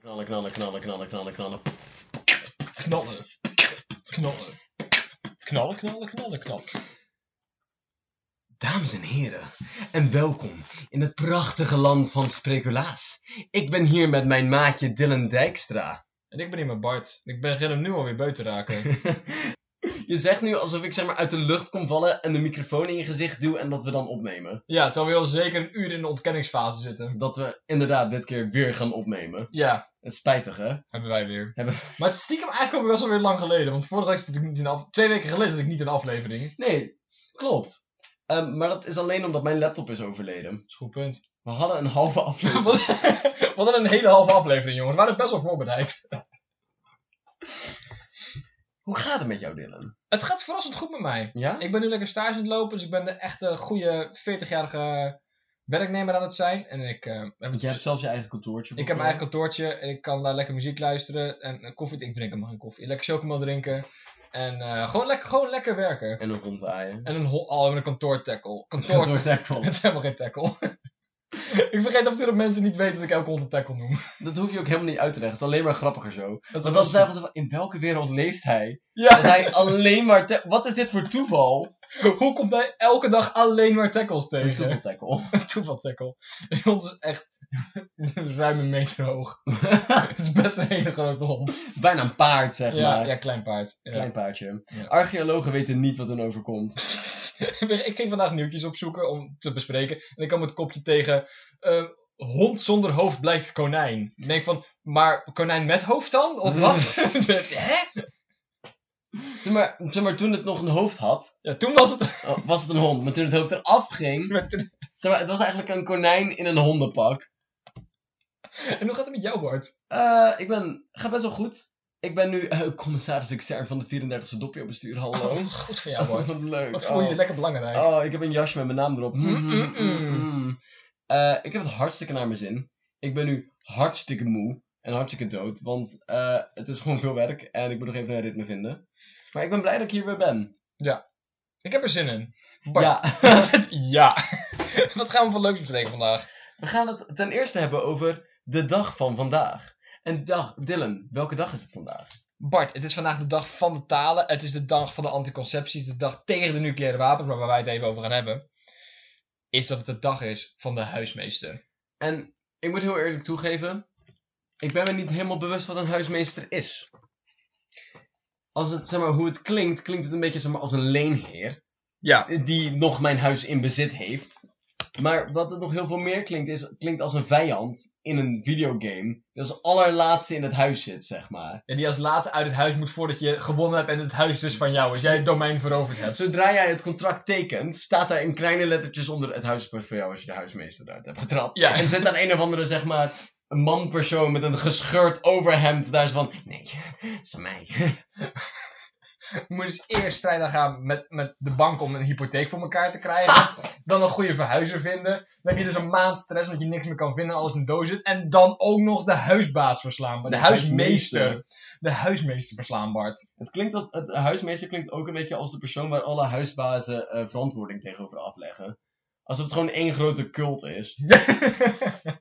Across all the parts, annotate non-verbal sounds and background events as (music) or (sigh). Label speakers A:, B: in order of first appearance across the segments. A: Knallen, knallen, knallen, knallen, knallen, knallen.
B: knallen. Knallen. Knallen, knallen, knallen, knallen.
A: Dames en heren, en welkom in het prachtige land van speculaas. Ik ben hier met mijn maatje Dylan Dijkstra. (laughs)
B: En ik ben hier met Bart. Ik ben begin hem nu alweer buiten te raken. (laughs)
A: Je zegt nu alsof ik zeg maar uit de lucht kom vallen en de microfoon in je gezicht duw en dat we dan opnemen.
B: ja, terwijl we al zeker een uur in de ontkenningsfase zitten.
A: Dat we inderdaad dit keer weer gaan opnemen.
B: Ja,
A: Het is spijtig hè?
B: hebben wij weer.
A: Hebben-
B: Maar het is stiekem eigenlijk ook best wel weer lang geleden. Want vorige week zat ik niet in de af... Twee weken geleden zat ik niet in de aflevering.
A: Nee, klopt. Ehm, maar dat is alleen omdat mijn laptop is overleden.
B: Dat is een goed punt. (laughs)
A: We hadden een halve aflevering. (laughs)
B: Wat, wat een hele halve aflevering, jongens. We waren best wel voorbereid.
A: Hoe gaat het met jou Dylan?
B: Het gaat verrassend goed met mij.
A: Ja?
B: Ik ben nu lekker stage aan het lopen, dus ik ben de echte goede 40-jarige werknemer aan het zijn. En ik, eh, heb,
A: Want je hebt zelfs je eigen kantoortje.
B: ik heb mijn
A: eigenlijk.
B: eigen kantoortje en ik kan daar lekker muziek luisteren. En eh, koffie, ik drink helemaal geen koffie. Lekker chocomel drinken. En eh, gewoon, lekker, gewoon lekker werken.
A: En een rondaaien.
B: En een hol, oh, en een kantoortackle. Kantoor,
A: Kantoor tackle.
B: (laughs) het is helemaal geen tackle. (laughs) ik vergeet af en toe dat mensen niet weten dat ik elke hond een
A: (laughs)
B: tackle noem.
A: (laughs) Dat hoef je ook helemaal niet uit te leggen. Het is alleen maar grappiger zo.
B: Dat
A: Want dan zeggen ze van, in welke wereld leeft hij? Dat
B: Ja, (laughs)
A: hij alleen maar... ta- Wat is dit voor toeval?
B: hoe komt hij elke dag alleen maar tackles
A: Een
B: tegen?
A: toeval tackle.
B: (laughs) Toeval tackle. Die hond is echt (laughs) ruim een
A: (laughs)
B: meter hoog. Het is best een hele grote hond.
A: Bijna een paard, zeg
B: Ja,
A: maar.
B: ja klein paard. Ja.
A: Klein paardje.
B: Ja.
A: Archeologen weten niet wat hen overkomt.
B: ik ging vandaag nieuwtjes opzoeken om te bespreken. En ik kwam het kopje tegen. eh, hond zonder hoofd blijkt konijn. Ik denk van, maar konijn met hoofd
A: (laughs)
B: dan? Of wat? (laughs) Hè?
A: Zeg maar, zeg maar, toen het nog een hoofd had,
B: Ja, toen was
A: (laughs)
B: het.
A: oh, was het een hond. Maar toen het hoofd eraf ging, zeg maar, het was eigenlijk een konijn in een hondenpak.
B: en hoe gaat het met jou, Bart?
A: Eh, ik ben... Gaat best wel goed. Ik ben nu eh, commissaris extern van het 34e dopje-bestuur. Hallo.
B: Oh, goed voor jou, Bart.
A: wat (laughs) leuk.
B: Wat voel je
A: Oh.
B: lekker belangrijk?
A: Oh, ik heb een jasje met mijn naam erop. Mm, mm, mm,
B: Mm, mm,
A: mm. Eh, ik heb het hartstikke naar mijn zin. Ik ben nu hartstikke moe en hartstikke dood, want eh, het is gewoon veel werk en ik moet nog even een ritme vinden. Maar ik ben blij dat ik hier weer ben.
B: Ik heb er zin in. Bart,
A: Ja,
B: (laughs) ja. wat gaan we voor leuks bespreken vandaag?
A: we gaan het ten eerste hebben over de dag van vandaag. En dag, Dylan, welke dag is het vandaag?
B: Bart, het is vandaag de dag van de talen. Het is de dag van de anticonceptie. Het is de dag tegen de nucleaire wapens, maar waar wij het even over gaan hebben. Is dat het de dag is van de huismeester.
A: En ik moet heel eerlijk toegeven, ik ben me niet helemaal bewust wat een huismeester is. Als het, zeg maar, hoe het klinkt, klinkt het een beetje zeg maar, als een leenheer.
B: Ja.
A: die nog mijn huis in bezit heeft. Maar wat het nog heel veel meer klinkt, is, klinkt als een vijand in een videogame. Die als allerlaatste in het huis zit, zeg maar.
B: En die als laatste uit het huis moet voordat je gewonnen hebt en het huis dus van jou is. Jij het domein veroverd hebt.
A: Zodra jij het contract tekent, staat daar in kleine lettertjes onder het huispers voor jou als je de huismeester eruit hebt getrapt.
B: Ja.
A: En zit daar een of andere, zeg maar, een manpersoon met een gescheurd overhemd daar is van, nee, dat is aan mij. (laughs)
B: Je moet dus eerst strijden gaan met, met de bank om een hypotheek voor elkaar te (laughs) krijgen. Dan een goede verhuizer vinden. Dan heb je dus een maand stress omdat je niks meer kan vinden, alles in doos zit. En dan ook nog de huisbaas verslaan. De,
A: De
B: huismeester.
A: huismeester.
B: De huismeester verslaan, Bart. (laughs)
A: Het klinkt als, het huismeester klinkt ook een beetje als de persoon waar alle huisbazen eh, verantwoording tegenover afleggen. Alsof het gewoon één grote cult is.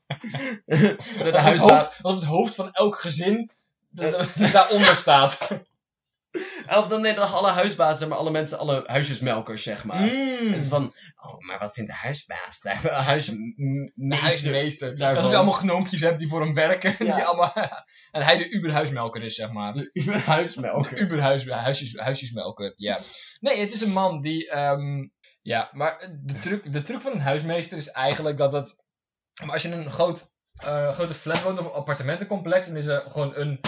A: Door de
B: Dat het,
A: huisbaas.
B: hoofd, dat het hoofd van elk gezin dat- dat daaronder (laughs) staat.
A: Of dan nee, dat alle huisbazen, maar alle mensen, alle huisjesmelkers, zeg maar. Het is
B: Mm.
A: van, oh, maar wat vindt de huisbaas daar? De (laughs) huismeester.
B: Huismeester.
A: daarvan.
B: Dat je allemaal gnoompjes hebt die voor hem werken.
A: Ja.
B: (laughs) Die allemaal, en hij de uberhuismelker is, zeg maar.
A: De
B: (laughs)
A: huismelker.
B: Uberhuis, huisjes, huisjesmelker, ja. Nee, het is een man die... ehm, ja, maar de truc, de truc van een huismeester is eigenlijk dat het... Maar als je in een groot, eh, grote flat woont of een appartementencomplex... dan is er gewoon een...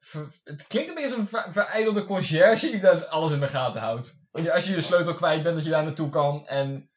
B: ver- het klinkt een beetje als een ver- verijdelde conciërge die daar dus alles in de gaten houdt. Als je, als je je sleutel kwijt bent, dat je daar naartoe kan. En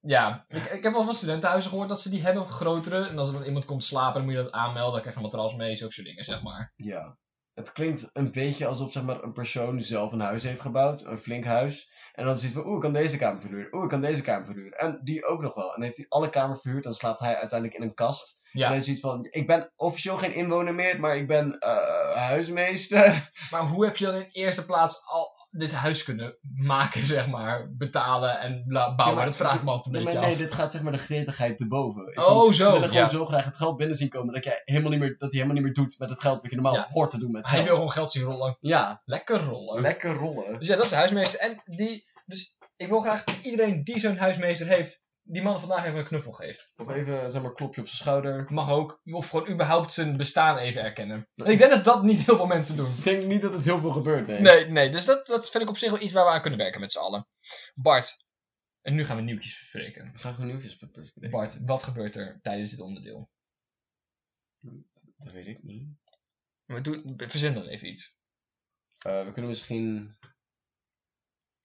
B: ja, ik, ik heb wel van studentenhuizen gehoord dat ze die hebben, grotere. En als er dan iemand komt slapen, dan moet je dat aanmelden. Dan krijg je een matras mee, zulke soort dingen, zeg maar.
A: Ja. Het klinkt een beetje alsof zeg maar, een persoon zelf een huis heeft gebouwd, een flink huis. En dan zoiets van, oeh, ik kan deze kamer verhuren, oeh, ik kan deze kamer verhuren. En die ook nog wel. En heeft hij alle kamers verhuurd, dan slaapt hij uiteindelijk in een kast.
B: Ja.
A: En hij ziet van, ik ben officieel geen inwoner meer, maar ik ben eh, huismeester.
B: Maar hoe heb je dan in eerste plaats al dit huis kunnen maken, (laughs) zeg maar. Betalen en bla- bouwen.
A: maar
B: dat vraag ik me altijd
A: Nee,
B: een
A: maar
B: beetje
A: nee,
B: af.
A: dit gaat zeg maar de gretigheid te boven. Is
B: Oh,
A: van,
B: zo,
A: Ze willen gewoon
B: ja.
A: zo graag het geld binnen zien komen dat, jij helemaal niet meer, dat hij helemaal niet meer doet met het geld wat je normaal
B: Ja.
A: hoort te doen met
B: Hij
A: geld.
B: wil gewoon geld zien rollen.
A: Ja,
B: Lekker rollen.
A: lekker rollen.
B: Dus ja, dat is de huismeester. En die, dus ik wil graag dat iedereen die zo'n huismeester heeft, die man vandaag even een knuffel geeft.
A: Of even zeg maar klopje op zijn schouder.
B: Mag ook, of gewoon überhaupt zijn bestaan even erkennen. En ik denk dat dat niet heel veel mensen doen.
A: Ik denk niet dat het heel veel gebeurt, nee.
B: Nee, nee, dus dat, dat vind ik op zich wel iets waar we aan kunnen werken met z'n allen. Bart, en nu gaan we nieuwtjes bespreken.
A: We gaan gewoon nieuwtjes be- bespreken.
B: Bart, wat gebeurt er tijdens dit onderdeel?
A: Dat weet ik niet.
B: Maar doe, verzin dan even iets.
A: Eh, we kunnen misschien...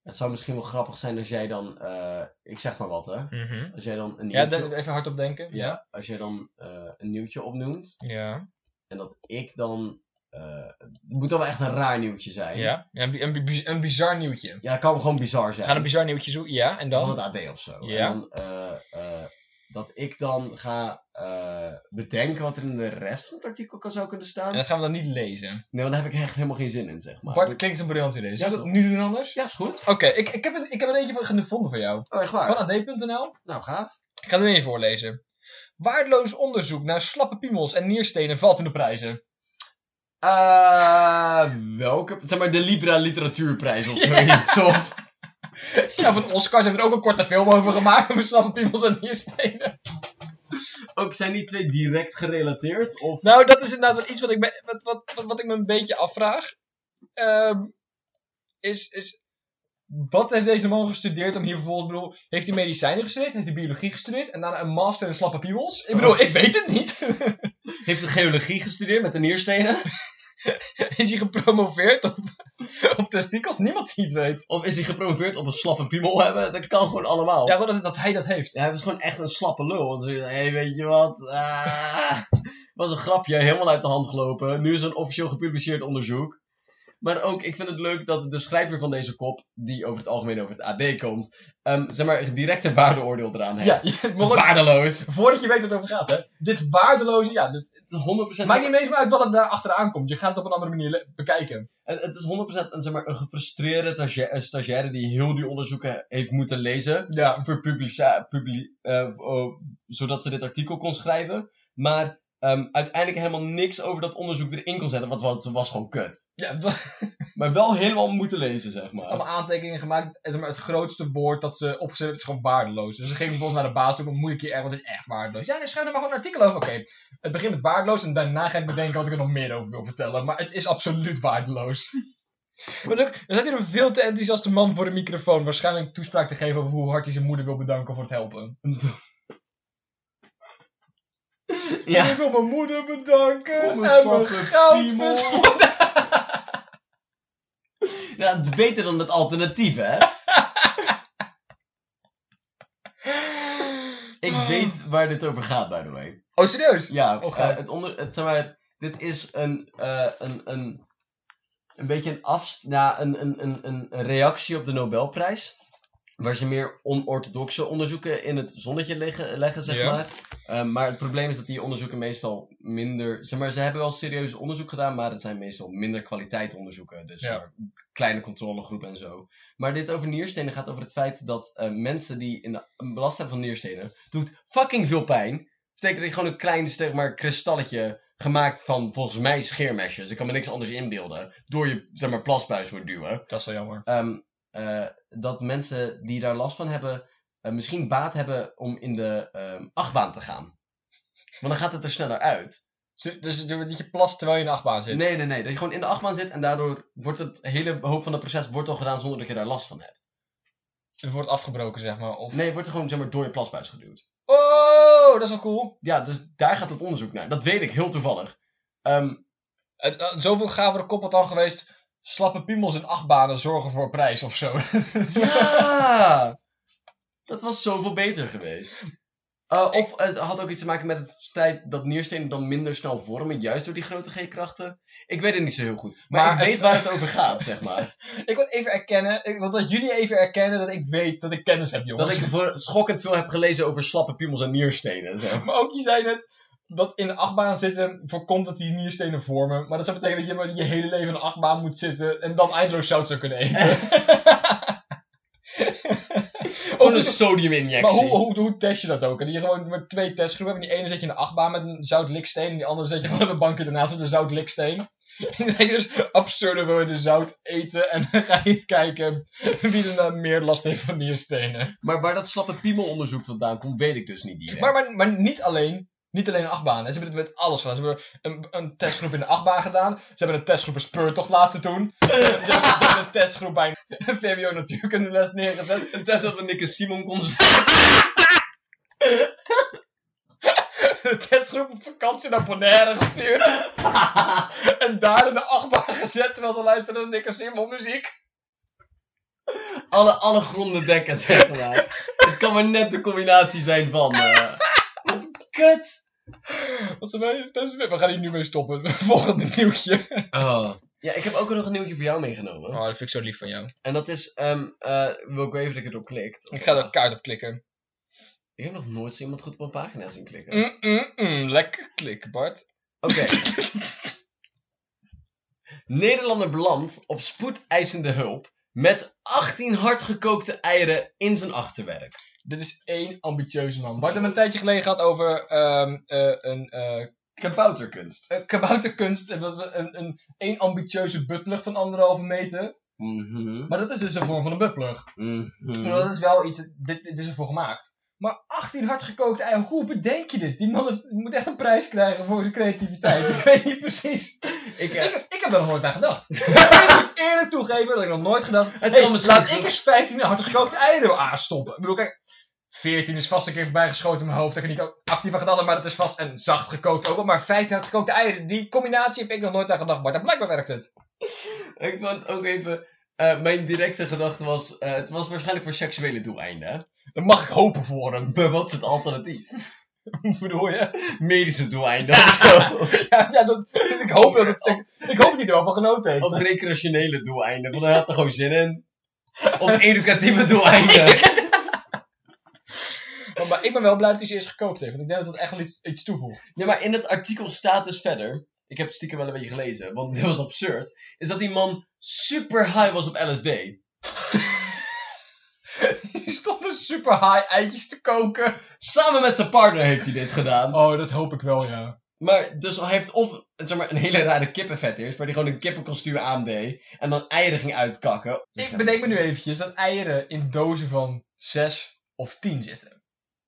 A: Het zou misschien wel grappig zijn als jij dan... eh, ik zeg maar wat, hè. Als jij dan een
B: Ja,
A: nieuwtje,
B: daar even hard op denken.
A: Mhm. ja, als jij dan eh, een nieuwtje opnoemt.
B: Ja.
A: En dat ik dan... eh, het moet dan wel echt een raar nieuwtje zijn.
B: ja. ja een, bi- een, bi- een bizar nieuwtje.
A: Ja, het kan gewoon bizar
B: We
A: zijn.
B: gaan een bizar nieuwtje zoeken. Ja, en dan?
A: Van het AD of zo.
B: Ja.
A: En dan, eh, eh, dat ik dan ga eh, bedenken wat er in de rest van het artikel kan, zou kunnen staan.
B: En dat gaan we dan niet lezen.
A: Nee, want daar heb ik echt helemaal geen zin in, zeg maar.
B: Bart klinkt een briljant idee. Zullen we
A: Ah, Ja,
B: dat nu doen anders?
A: Ja, is goed.
B: Oké, ik, ik, heb een, ik heb er eentje van gevonden voor jou.
A: Oh, echt waar?
B: Van ad.nl.
A: Nou, gaaf.
B: Ik ga hem even voorlezen. Waardeloos onderzoek naar slappe piemels en nierstenen valt in de prijzen.
A: Eh, welke? Zeg maar de Libra Literatuurprijs
B: (laughs)
A: of zoiets. Of,
B: Ja, van Oscars heeft er ook een korte film over gemaakt over slappe piemels en nierstenen.
A: ook zijn die twee direct gerelateerd? Of...
B: Nou, dat is inderdaad wel iets wat ik me, wat, wat, wat, wat ik me een beetje afvraag. Ehm, is, is, wat heeft deze man gestudeerd om hier vervolgens... ik bedoel, heeft hij medicijnen gestudeerd? Heeft hij biologie gestudeerd? En daarna een master in slappe piemels? Ik bedoel, ik weet het niet. (laughs)
A: Heeft ze geologie gestudeerd met de nierstenen?
B: Is hij gepromoveerd op, op testikels? Niemand die het weet.
A: Of is hij gepromoveerd op een slappe piemel hebben? Dat kan gewoon allemaal.
B: Ja, gewoon dat, dat hij dat heeft.
A: Ja, hij was gewoon echt een slappe lul. Want ze hey, weet je wat? Ah, (laughs) was een grapje, helemaal uit de hand gelopen. Nu is er een officieel gepubliceerd onderzoek. Maar ook, ik vind het leuk dat de schrijver van deze kop, die over het algemeen over het AD komt, ehm, zeg maar, direct een waardeoordeel eraan heeft.
B: Ja,
A: het is
B: maar ook-
A: waardeloos.
B: voordat je weet wat het over gaat, hè. Dit waardeloze, ja. Dit,
A: Het is 100%,
B: maakt niet eens meer uit wat er daar achteraan komt. Je gaat het op een andere manier le- bekijken.
A: het, het is 100% een, zeg maar, een gefrustreerde stagia- een stagiaire die heel die onderzoeken heeft moeten lezen.
B: Ja.
A: voor publica- publi- eh, oh, zodat ze dit artikel kon schrijven. Maar ehm, uiteindelijk helemaal niks over dat onderzoek erin kon zetten, want het was gewoon kut.
B: ja dat-
A: Maar wel helemaal moeten lezen, zeg maar.
B: allemaal aantekeningen gemaakt. En zeg maar, het grootste woord dat ze opgezet hebben is gewoon waardeloos. Dus ze geven ons naar de baas toe, dan moet ik hier echt, want het is echt waardeloos. Ja, dan schrijf er maar gewoon een artikel over. Oké, het begint met waardeloos en daarna ga ik bedenken wat ik er nog meer over wil vertellen. Maar het is absoluut waardeloos. (laughs) Maar ook, er zat hier een veel te enthousiaste man voor de microfoon. Waarschijnlijk toespraak te geven over hoe hard hij zijn moeder wil bedanken voor het helpen.
A: Ja.
B: Ik wil mijn moeder bedanken.
A: Voor mijn
B: en
A: slappe
B: mijn goudvis.
A: ja, beter dan het alternatief, hè? Ik weet waar dit over gaat, by the way.
B: Ah. Oh, serieus?
A: Ja,
B: Oh,
A: eh,
B: gaaf.
A: het onder, het, zeg maar, dit is een, eh, een, een, een beetje een, af, ja, een, een, een, een een reactie op de Nobelprijs. Waar ze meer onorthodoxe onderzoeken in het zonnetje leggen, leggen zeg
B: Ja.
A: maar. Eh, maar het probleem is dat die onderzoeken meestal minder... Zeg maar, ze hebben wel serieus onderzoek gedaan, maar het zijn meestal minder kwaliteit onderzoeken. Dus
B: Ja.
A: maar kleine controlegroepen en zo. Maar dit over nierstenen gaat over het feit dat eh, mensen die in de, een last hebben van nierstenen... doet fucking veel pijn. Betekent dat je gewoon een klein zeg maar, kristalletje gemaakt van volgens mij scheermesjes. Ik kan me niks anders inbeelden. Door je zeg maar, plasbuis moet duwen.
B: Dat is wel jammer.
A: Ehm, eh, dat mensen die daar last van hebben, eh, misschien baat hebben om in de ehm, achtbaan te gaan. Want dan gaat het er sneller uit.
B: Dus dus je- dat je plast terwijl je in de achtbaan zit.
A: Nee, nee, nee. Dat je gewoon in de achtbaan zit en daardoor wordt het hele hoop van het proces wordt al gedaan zonder dat je daar last van hebt.
B: Het wordt afgebroken, zeg maar. Of...
A: Nee, het wordt er gewoon zeg maar, door je plasbuis geduwd.
B: Oh, dat is wel cool.
A: Ja, dus daar gaat het onderzoek naar. Dat weet ik heel toevallig. Ehm,
B: Het, eh, zoveel gavere kop had dan geweest. Slappe piemels in achtbanen zorgen voor prijs of zo. (laughs)
A: (laughs) ja! Dat was zoveel beter geweest. Eh, of het had ook iets te maken met het feit dat nierstenen dan minder snel vormen, juist door die grote G-krachten. Ik weet het niet zo heel goed. Maar,
B: Maar
A: ik
B: het-
A: weet waar het over gaat, zeg (laughs) maar.
B: ik wil even erkennen, ik wil dat jullie even erkennen dat ik weet dat ik kennis heb, jongens.
A: Dat ik voor schokkend veel heb gelezen over slappe piemels en nierstenen. Zo.
B: Maar ook, je zei net, dat in de achtbaan zitten voorkomt dat die nierstenen vormen. Maar dat zou betekenen dat je maar je hele leven in een achtbaan moet zitten en dan eindeloos zout zou kunnen eten. Oh,
A: Gewoon een
B: Ook- dus- maar
A: sodiuminjectie.
B: hoe, hoe, hoe test je dat ook? En je gewoon met twee testgroepen hebt. En die ene zet je in de achtbaan met een zoutliksteen. En die andere zet je gewoon op een bankje ernaast met een zoutliksteen. (laughs) En dan ga je dus absurde woorden zout eten. En (laughs) dan ga je kijken wie er nou meer last heeft van nierstenen.
A: Maar waar dat slappe piemelonderzoek vandaan komt, weet ik dus niet direct.
B: Maar, maar, maar niet alleen... Niet alleen in achtbanen. Ze hebben het met alles gedaan. Ze hebben een, een testgroep in de achtbaan gedaan. Ze hebben een testgroep een speurtocht laten (laughs) doen. Ze hebben, ze hebben een testgroep bij een VWO natuurkundeles neergezet.
A: Een test dat we Nick en Simon konden
B: de testgroep op vakantie naar Bonaire gestuurd. en daar in de achtbaan gezet terwijl ze luisterden naar Nick Simon muziek.
A: (laughs) alle, alle gronden dekken, zeg (laughs) maar. Het kan maar net de combinatie zijn van... eh, Wat kut!
B: Wat zijn wij? dat is- We gaan hier nu mee stoppen. (laughs) Volgende nieuwtje.
A: Oh. Ja, ik heb ook nog een nieuwtje voor jou meegenomen.
B: Oh, dat vind ik zo lief van jou.
A: En dat is... ehm eh wil ik wel even dat ik erop klikt.
B: Ik ga er kaart op klikken.
A: Ik heb nog nooit zo iemand goed op een pagina zien klikken.
B: Mm, mm, mm. Lekker klikken, Bart.
A: Oké. Nederlander belandt op spoedeisende hulp met 18 hardgekookte eieren in zijn achterwerk.
B: Dit is één ambitieuze man. Bart hebben een tijdje geleden gehad over ehm, eh, een eh,
A: Kabouterkunst.
B: eh, kabouterkunst. En dat we een, een, één ambitieuze buttplug van anderhalve meter.
A: Mhm.
B: Maar dat is dus een vorm van een buttplug.
A: Mhm.
B: Nou, dat is wel iets, dit, dit is ervoor gemaakt. Maar 18 hardgekookt eieren, hoe bedenk je dit? Die man heeft- moet echt een prijs krijgen voor zijn creativiteit. (laughs) ik weet niet precies.
A: Ik, eh,
B: Ik, ik heb daar nog nooit naar (laughs) gedacht. ik moet eerlijk toegeven dat ik nog nooit gedacht
A: kan
B: heb. Hey,
A: misschien
B: laat
A: wel.
B: ik eens 15 hardgekookte eieren aanstoppen. Ik bedoel, kijk, 14 is vast een keer voorbij geschoten in mijn hoofd. Dat ik er niet actief aan gedaan maar dat is vast en zacht gekookt ook. wel. Maar 15 hardgekookte eieren, die combinatie heb ik nog nooit aan gedacht. Maar blijkbaar werkt het.
A: ik vond ook even... eh, mijn directe gedachte was... eh, het was waarschijnlijk voor seksuele doeleinden. hè?
B: Dan mag ik hopen voor hem. (laughs)
A: Maar wat is het alternatief?
B: bedoel je?
A: Medische doeleinden of zo.
B: Ja, ja, dat, ik hoop dat het, ik hoop dat hij er wel van genoten heeft.
A: Of recreationele doeleinden. Want hij had er gewoon zin in. Of educatieve (laughs) doeleinden.
B: Maar, maar ik ben wel blij dat hij ze eerst gekookt heeft. Want ik denk dat dat echt wel iets, iets (laughs) toevoegt.
A: Ja, maar in het artikel staat dus verder. Ik heb het stiekem wel een beetje gelezen, want het was absurd. Is dat die man super high was op LSD.
B: Die stonden super high eitjes te koken.
A: Samen met zijn partner heeft hij dit gedaan.
B: Oh, dat hoop ik wel, ja.
A: Maar dus hij heeft of zeg maar, een hele rare kippenveters, waar hij gewoon een kippenkostuum aandeed. En dan eieren ging uitkakken. Dus
B: Ik bedenk me nu eventjes dat eieren in dozen van 6 of 10 zitten.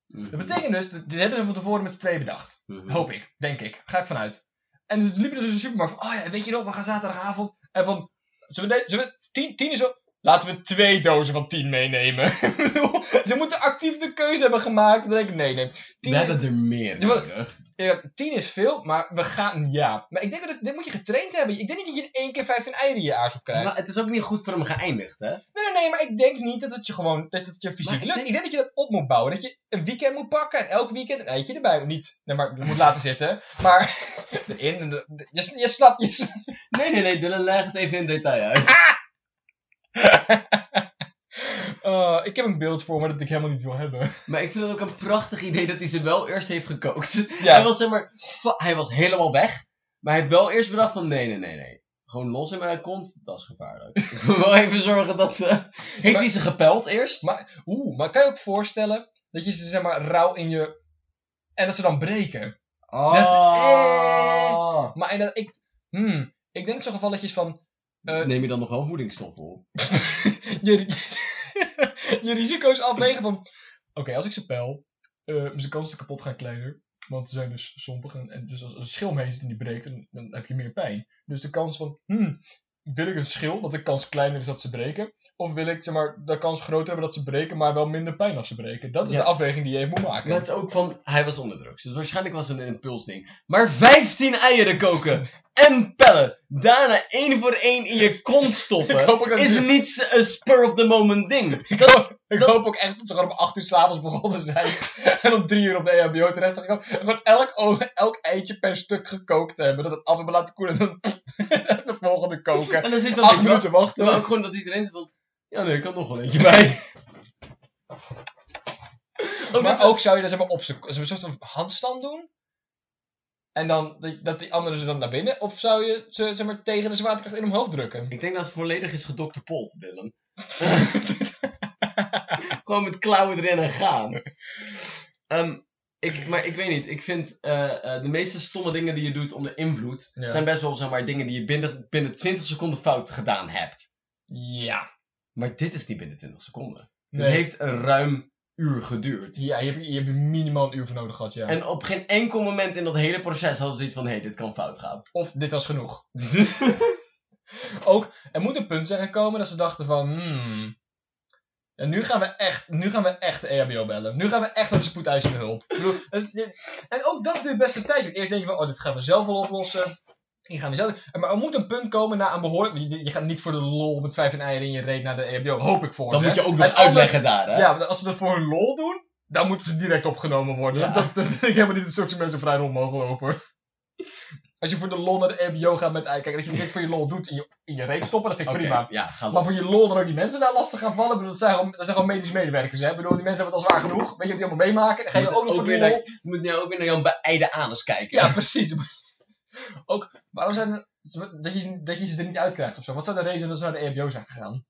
B: Dat betekent dus, dat- dit hebben ze van tevoren met z'n tweeën bedacht.
A: Oh,
B: Hoop ik, denk ik. Ga ik vanuit. En dus liepen dus in de supermarkt van, oh ja, weet je nog, we gaan zaterdagavond. En van, zullen we, de- zullen we tien, tien is wel- Laten we twee dozen van tien meenemen. (laughs) Ik bedoel, Ze moeten actief de keuze hebben gemaakt. Dan denk ik, nee, nee. Tien,
A: We hebben er meer
B: Ja, maar-
A: nodig.
B: eh, tien is veel, maar we gaan, ja. Maar ik denk dat het- dit moet je getraind hebben. Ik denk niet dat je in één keer 15 eieren in je aars op krijgt.
A: Maar het is ook niet goed voor hem geëindigd, hè?
B: Nee, nee, nee, maar ik denk niet dat het je gewoon, dat het je fysiek
A: Maar ik
B: lukt.
A: denk-
B: Ik denk dat je dat op moet bouwen. Dat je een weekend moet pakken en elk weekend een eitje erbij moet. Niet, nee, maar je moet (laughs) laten zitten. Maar erin, en de- de- je, s- je snapt, je snapt.
A: Nee, nee, nee, Dylan, leg het even in detail uit.
B: Eh, ik heb een beeld voor me dat ik helemaal niet wil hebben.
A: Maar ik vind het ook een prachtig idee dat hij ze wel eerst heeft gekookt.
B: Ja.
A: Hij was zeg maar, fa- hij was helemaal weg. Maar hij heeft wel eerst bedacht van, nee, nee, nee, nee. Gewoon los in mijn kont, dat is gevaarlijk. (laughs) Ik wil wel even zorgen dat ze... Heeft
B: Maar-
A: hij ze gepeld eerst?
B: Oeh, maar kan je ook voorstellen dat je ze zeg maar rauw in je... En dat ze dan breken.
A: Ah.
B: Maar inderdaad, ik... Hmm, ik denk in zo'n gevalletjes van... eh,
A: Neem je dan nog wel voedingsstof op?
B: (laughs) je, ri- je risico's afwegen van... Oké, als ik ze pel, eh zijn kans is kapot gaan kleiner. Want ze zijn dus sompig. En, en dus als een schil meezit en die breekt, dan, dan heb je meer pijn. Dus de kans van... Hmm, wil ik een schil, dat de kans kleiner is dat ze breken? Of wil ik zeg maar, de kans groter hebben dat ze breken, maar wel minder pijn als ze breken? Dat is
A: Ja.
B: de afweging die je even moet maken.
A: Maar het is ook van, hij was onder drugs. Dus waarschijnlijk was het een impulsding. Maar 15 eieren koken en pellen. Daarna één voor één in je kont
B: (laughs) Ik
A: stoppen.
B: hoop, ook dat
A: Is
B: ze,
A: niet een spur of the moment
B: (laughs)
A: ding.
B: ik hoop ook echt dat ze gewoon om 8 uur s'avonds begonnen zijn. (laughs) En om 3 uur op de E EHBO terecht zijn gekomen. En gewoon elk, o- elk eitje per stuk gekookt hebben. Dat het af hebben laten koelen. En dan (laughs) de volgende koken.
A: En dan zit dan
B: Acht
A: die
B: minuten wachten.
A: Terwijl ook gewoon dat iedereen zegt van... Ja, nee, ik kan nog wel (laughs) eentje bij. ook dat ze-
B: maar dus ook zou je daar zeg maar op z'n- zo'n soort van handstand doen. En dan die- dat die anderen ze dan naar binnen? Of zou je ze zeg maar, tegen de zwaartekracht in omhoog drukken?
A: Ik denk dat het volledig is gedokterpold, (laughs) Dylan. Gewoon met klauwen erin en gaan. Ehm, ik, maar ik weet niet, ik vind eh, eh, de meeste stomme dingen die je doet onder invloed...
B: Ja.
A: zijn best wel zeg maar, dingen die je binnen, binnen 20 seconden fout gedaan hebt.
B: Ja.
A: Maar dit is niet binnen 20 seconden.
B: Nee.
A: Het heeft een ruim uur geduurd.
B: Ja, je hebt, je hebt minimaal een uur voor nodig gehad, ja.
A: En op geen enkel moment in dat hele proces hadden ze iets van... hé, hey, dit kan fout
B: (laughs)
A: gaan.
B: Of dit was genoeg. Ook, er moet een punt zijn gekomen dat ze dachten van, hmm... En nu gaan we echt, nu gaan we echt de E EHBO bellen. Nu gaan we echt naar de spoedeisende hulp. Ik bedoel, het- dit- en ook dat duurt best een tijdje. Want Eerst denk je van, oh, dit gaan we zelf wel oplossen. Hier gaan we zelf... Maar er moet een punt komen na een behoorlijk... Je, je gaat niet voor de lol met 15 eieren in je reet naar de E EHBO. Hoop ik voor
A: Dan
B: ze,
A: moet je
B: hè.
A: ook nog
B: En anders-
A: uitleggen daar, hè?
B: Ja, want als ze dat voor hun lol doen, dan moeten ze direct opgenomen worden.
A: Ja.
B: (laughs) Dat eh, vind ik helemaal niet het soort mensen vrij rond mogen lopen. Als je voor de lol naar de EBO gaat met Kijk, dat je dit voor je lol doet in je, in je reet stoppen, dat vind ik
A: Oké,
B: prima.
A: ja, ga
B: Maar
A: door.
B: voor je lol dan ook die mensen daar lastig gaan vallen, ik bedoel, dat zijn gewoon, dat zijn gewoon medisch medewerkers. Hè? Ik bedoel, die mensen hebben het al zwaar genoeg. Weet je wat die allemaal meemaken? Dan ga
A: Moet
B: je ook nog voor de
A: weer
B: lol.
A: naar, moet nou ook weer naar jouw beide anus kijken.
B: Ja, (laughs) precies. ook, waarom zijn er, dat, je, ze- dat je ze er niet uitkrijgt of zo? Wat zou de reden dat ze naar de EBO zijn gegaan?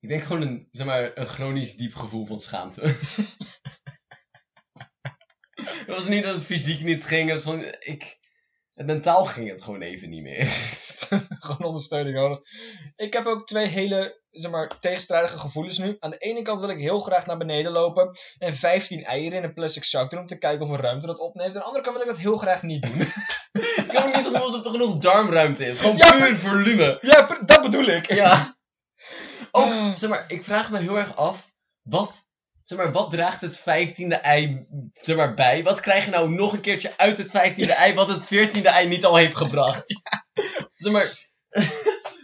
A: Ik denk gewoon een, zeg maar, een chronisch diep gevoel van schaamte. (laughs) Het was niet dat het fysiek niet ging, het was gewoon, ik... Het mentaal ging het gewoon even niet meer. (laughs)
B: (laughs) gewoon ondersteuning nodig. Ik heb ook twee hele zeg maar, tegenstrijdige gevoelens nu. Aan de ene kant wil ik heel graag naar beneden lopen en 15 eieren in een plastic zak doen om te kijken of er ruimte dat opneemt. Aan de andere kant wil ik dat heel graag niet
A: (laughs)
B: doen.
A: Ik heb ook niet het gevoel dat er genoeg darmruimte is. Gewoon
B: Ja,
A: puur volume.
B: ja, per- dat bedoel ik.
A: Ja.
B: Ah.
A: (laughs) Ook, zeg maar, ik vraag me heel erg af, wat, zeg maar, wat draagt het 15e ei zeg maar, bij? Wat krijg je nou nog een keertje uit het 15e ei wat het 14e ei niet al heeft gebracht? Zeg maar,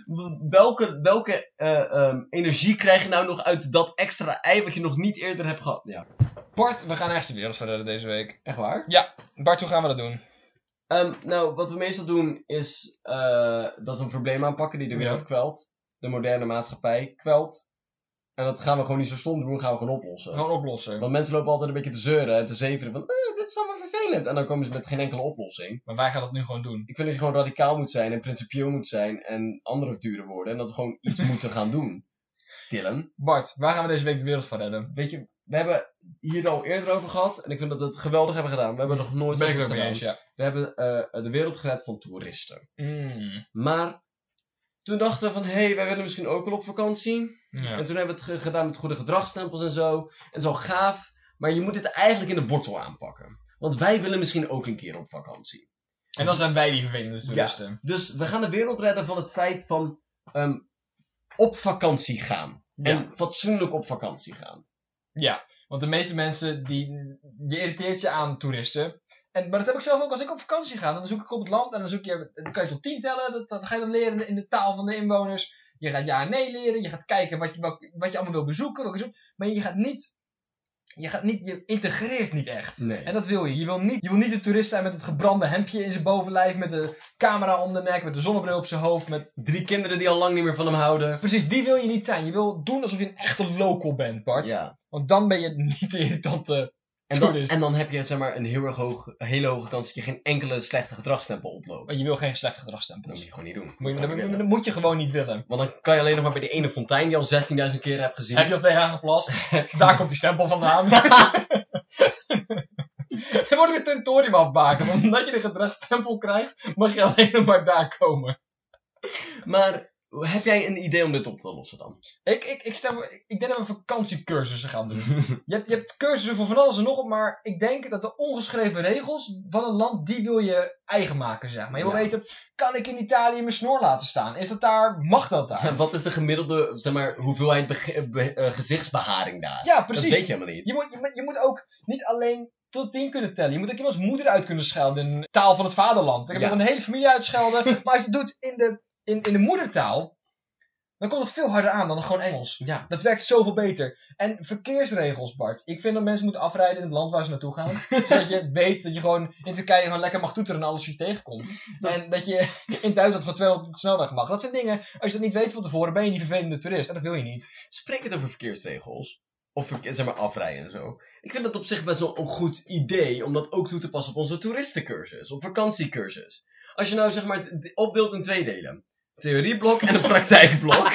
A: (laughs) welke, welke eh, ehm, energie krijg je nou nog uit dat extra ei wat je nog niet eerder hebt gehad? Ja,
B: Bart, we gaan echt de wereld verder deze week.
A: echt waar?
B: Bart, hoe gaan we dat doen?
A: Ehm, nou, wat we meestal doen is eh, dat we een probleem aanpakken die de wereld kwelt. De moderne maatschappij kwelt. En dat gaan we gewoon niet zo stom doen, gaan we gewoon oplossen.
B: Gewoon oplossen.
A: Want mensen lopen altijd een beetje te zeuren en te zeveren van, "Eh, dit is allemaal vervelend. En dan komen ze met geen enkele oplossing.
B: Maar wij gaan dat nu gewoon doen.
A: Ik vind dat je gewoon radicaal moet zijn en principieel moet zijn en andere dure woorden. En dat we gewoon
B: (laughs)
A: iets moeten gaan doen. Dylan.
B: Bart, waar gaan we deze week de wereld van redden?
A: Weet je, we hebben hier al eerder over gehad. En ik vind dat we het geweldig hebben gedaan. We hebben nog nooit
B: ben ik
A: zo
B: het ook
A: goed
B: mee
A: gedaan.
B: eens, ja.
A: We hebben eh, de wereld gered van toeristen.
B: Mm,
A: Maar toen dachten we van, hé, hey, wij willen misschien ook wel op vakantie.
B: ja.
A: En toen hebben we het ge- gedaan met goede gedragsstempels en zo. En het is wel gaaf, maar je moet het eigenlijk in de wortel aanpakken. Want wij willen misschien ook een keer op vakantie.
B: En dan zijn wij die vervelende
A: Ja.
B: toeristen.
A: Dus we gaan de wereld redden van het feit van ehm, op vakantie gaan.
B: Ja.
A: En fatsoenlijk op vakantie gaan.
B: Ja, want de meeste mensen die, je irriteert je aan toeristen. En, maar dat heb ik zelf ook als ik op vakantie ga. Dan zoek ik op het land en dan, zoek je, dan kan je tot tien tellen. Dat, dat ga je dan leren in de, in de taal van de inwoners. Je gaat ja en nee leren. Je gaat kijken wat je, wat, wat je allemaal wil bezoeken. Welke zoek, maar je gaat niet... Je, gaat niet, je integreert niet echt.
A: Nee.
B: En dat wil je. Je wil, niet, je wil niet de toerist zijn met het gebrande hemdje in zijn bovenlijf. Met de camera om de nek. Met de zonnebril op zijn hoofd. Met...
A: Drie kinderen die al lang niet meer van hem houden.
B: Precies, die wil je niet zijn. Je wil doen alsof je een echte local bent, Bart.
A: Ja.
B: Want dan ben je niet (laughs) eh, de irritante
A: En dan,
B: Toerist.
A: en dan heb je zeg maar, een heel erg hoog, een hele hoge kans dat je geen enkele slechte gedragsstempel oploopt.
B: Want Oh, je wil geen slecht
A: Dat moet
B: gedragsstempels.
A: je gewoon niet doen.
B: Moet je,
A: Dat
B: dat,
A: niet
B: dat
A: willen.
B: moet je gewoon niet willen.
A: Want dan kan je alleen nog maar bij die ene fontein die je al 16.000 keer hebt gezien.
B: Heb je op tegen
A: (laughs)
B: aangeplast? Daar komt die stempel vandaan. Dan worden we tentorium afbaken. Want omdat je de gedragsstempel krijgt, mag je alleen nog maar daar komen.
A: Maar heb jij een idee om dit op te lossen dan? (laughs)
B: Ik, ik, ik, stel, ik denk dat we vakantiecursussen gaan doen. Je hebt, je hebt cursussen voor van alles en nog wat, maar ik denk dat de ongeschreven regels van een land, die wil je eigen maken, zeg maar. Je wil
A: Ja.
B: weten, kan ik in Italië mijn snor laten staan? Is dat daar, mag
A: (laughs)
B: dat daar?
A: Wat is de gemiddelde zeg maar, hoeveelheid bege- be- eh, gezichtsbeharing daar?
B: Ja,
A: Dat
B: precies.
A: weet je helemaal niet.
B: Je moet, je, moet- je moet ook niet alleen tot tien kunnen tellen. Je moet ook iemands moeder uit kunnen schelden in de taal van het vaderland. Ik heb
A: Ja.
B: nog een hele familie uitschelden. (laughs) maar als je het doet in de, in, in de moedertaal, dan komt het veel harder aan dan gewoon Engels.
A: Ja.
B: Dat werkt zoveel beter. En verkeersregels, Bart. Ik vind dat mensen moeten afrijden in het land waar ze naartoe (laughs) gaan. zodat je weet dat je gewoon in Turkije gewoon lekker mag toeteren en alles wat je tegenkomt. En dat je in Duitsland gewoon 200 op de snelweg mag. Dat zijn dingen, als je dat niet weet van tevoren, ben je die vervelende toerist. En dat wil je niet.
A: Spreek het over verkeersregels. of verkeer- zeg maar, afrijden en zo. Ik vind dat op zich best wel een goed idee om dat ook toe te passen op onze toeristencursus, op vakantiecursus. Als je nou zeg maar het opdeelt in twee delen. Theorieblok en een praktijkblok.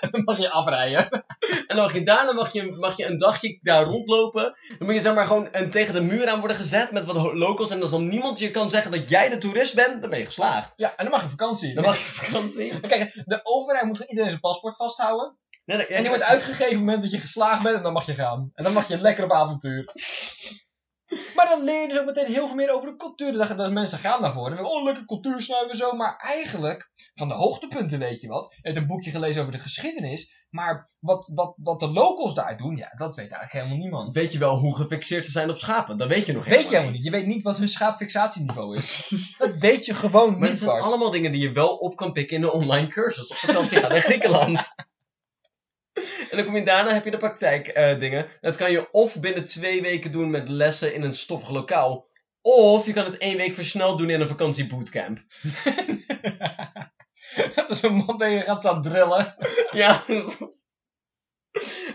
B: (laughs) Dan mag je afrijden.
A: En dan mag je daarna mag je, mag je een dagje daar rondlopen. Dan moet je zeg maar gewoon een, tegen de muur aan worden gezet met wat ho- locals. En als dan niemand je kan zeggen dat jij de toerist bent, dan ben je geslaagd.
B: Ja, en dan mag je vakantie.
A: Dan mag je op vakantie.
B: Kijk, de overheid moet van iedereen zijn paspoort vasthouden.
A: Nee, nee, ja,
B: En die wordt uitgegeven op het moment dat je geslaagd bent en dan mag je gaan. En dan mag je lekker op avontuur. Maar dan leer je dus ook meteen heel veel meer over de cultuur. Dat, dat mensen gaan daarvoor. En dan, oh, lekker cultuur snuiven zo. Maar eigenlijk, van de hoogtepunten weet je wat. Je hebt een boekje gelezen over de geschiedenis. Maar wat, wat, wat de locals daar doen, ja, dat weet eigenlijk helemaal niemand.
A: Weet je wel hoe gefixeerd ze zijn op schapen? Dat weet je nog
B: Weet je helemaal niet. Je weet niet wat hun schaapfixatieniveau is. dat weet je
A: (laughs)
B: gewoon
A: Maar
B: niet,
A: het zijn
B: Bart.
A: allemaal dingen die je wel op kan pikken in een online cursus. Op vakantie gaan naar (laughs) Griekenland. En dan kom je daarna, heb je de praktijkdingen. dingen. dat kan je of binnen twee weken doen met lessen in een stoffig lokaal. Of je kan het één week versneld doen in een vakantiebootcamp.
B: (laughs) dat is een man die je gaat staan drillen.
A: Ja.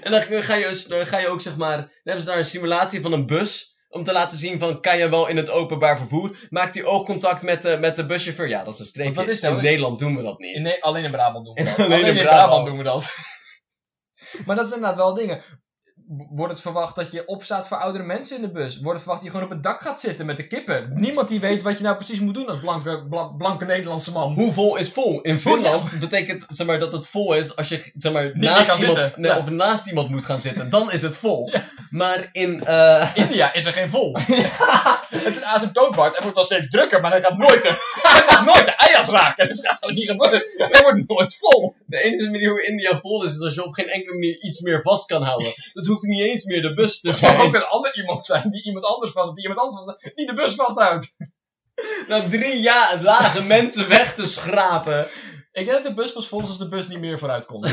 A: En dan ga je, dus- dan ga je ook zeg maar... Dan hebben ze daar een simulatie van een bus. Om te laten zien van, kan je wel in het openbaar vervoer? Maakt die oogcontact met de, met de buschauffeur? Ja, dat is een streepje.
B: Want wat is dat?
A: in
B: Wat is-
A: Nederland doen we dat niet.
B: In, nee, (laughs) alleen in Brabant doen we dat.
A: Alleen in Brabant.
B: doen we dat. (laughs) maar dat zijn inderdaad wel dingen. W- Wordt het verwacht dat je opstaat voor oudere mensen in de bus? Wordt het verwacht dat je gewoon op het dak gaat zitten met de kippen? Niemand die weet wat je nou precies moet doen als blanke, bla- blanke Nederlandse man.
A: Hoe vol is vol? In Finland betekent zeg maar, dat het vol is als je zeg maar,
B: meer
A: naast,
B: kan
A: iemand,
B: zitten.
A: nee,
B: Ja.
A: of naast iemand moet gaan zitten. Dan is het
B: (laughs)
A: vol. Maar in, eh,
B: India is er geen vol. (laughs) Het is een asymptootbart. Hij wordt dan steeds drukker, maar hij gaat nooit de, hij gaat nooit de eiers raken. Dat gaat gewoon niet gebeuren. Hij wordt nooit vol.
A: de enige manier hoe India vol is, is als je op geen enkele manier iets meer vast kan houden. Dat hoeft niet eens meer de bus
B: (laughs)
A: te
B: Er zou ook
A: zijn.
B: een ander iemand zijn die iemand anders vast, die iemand anders vast, die de bus vasthoudt.
A: Na drie jaar lage mensen weg te schrapen.
B: Ik denk dat de bus pas vol is als de bus niet meer vooruit kon.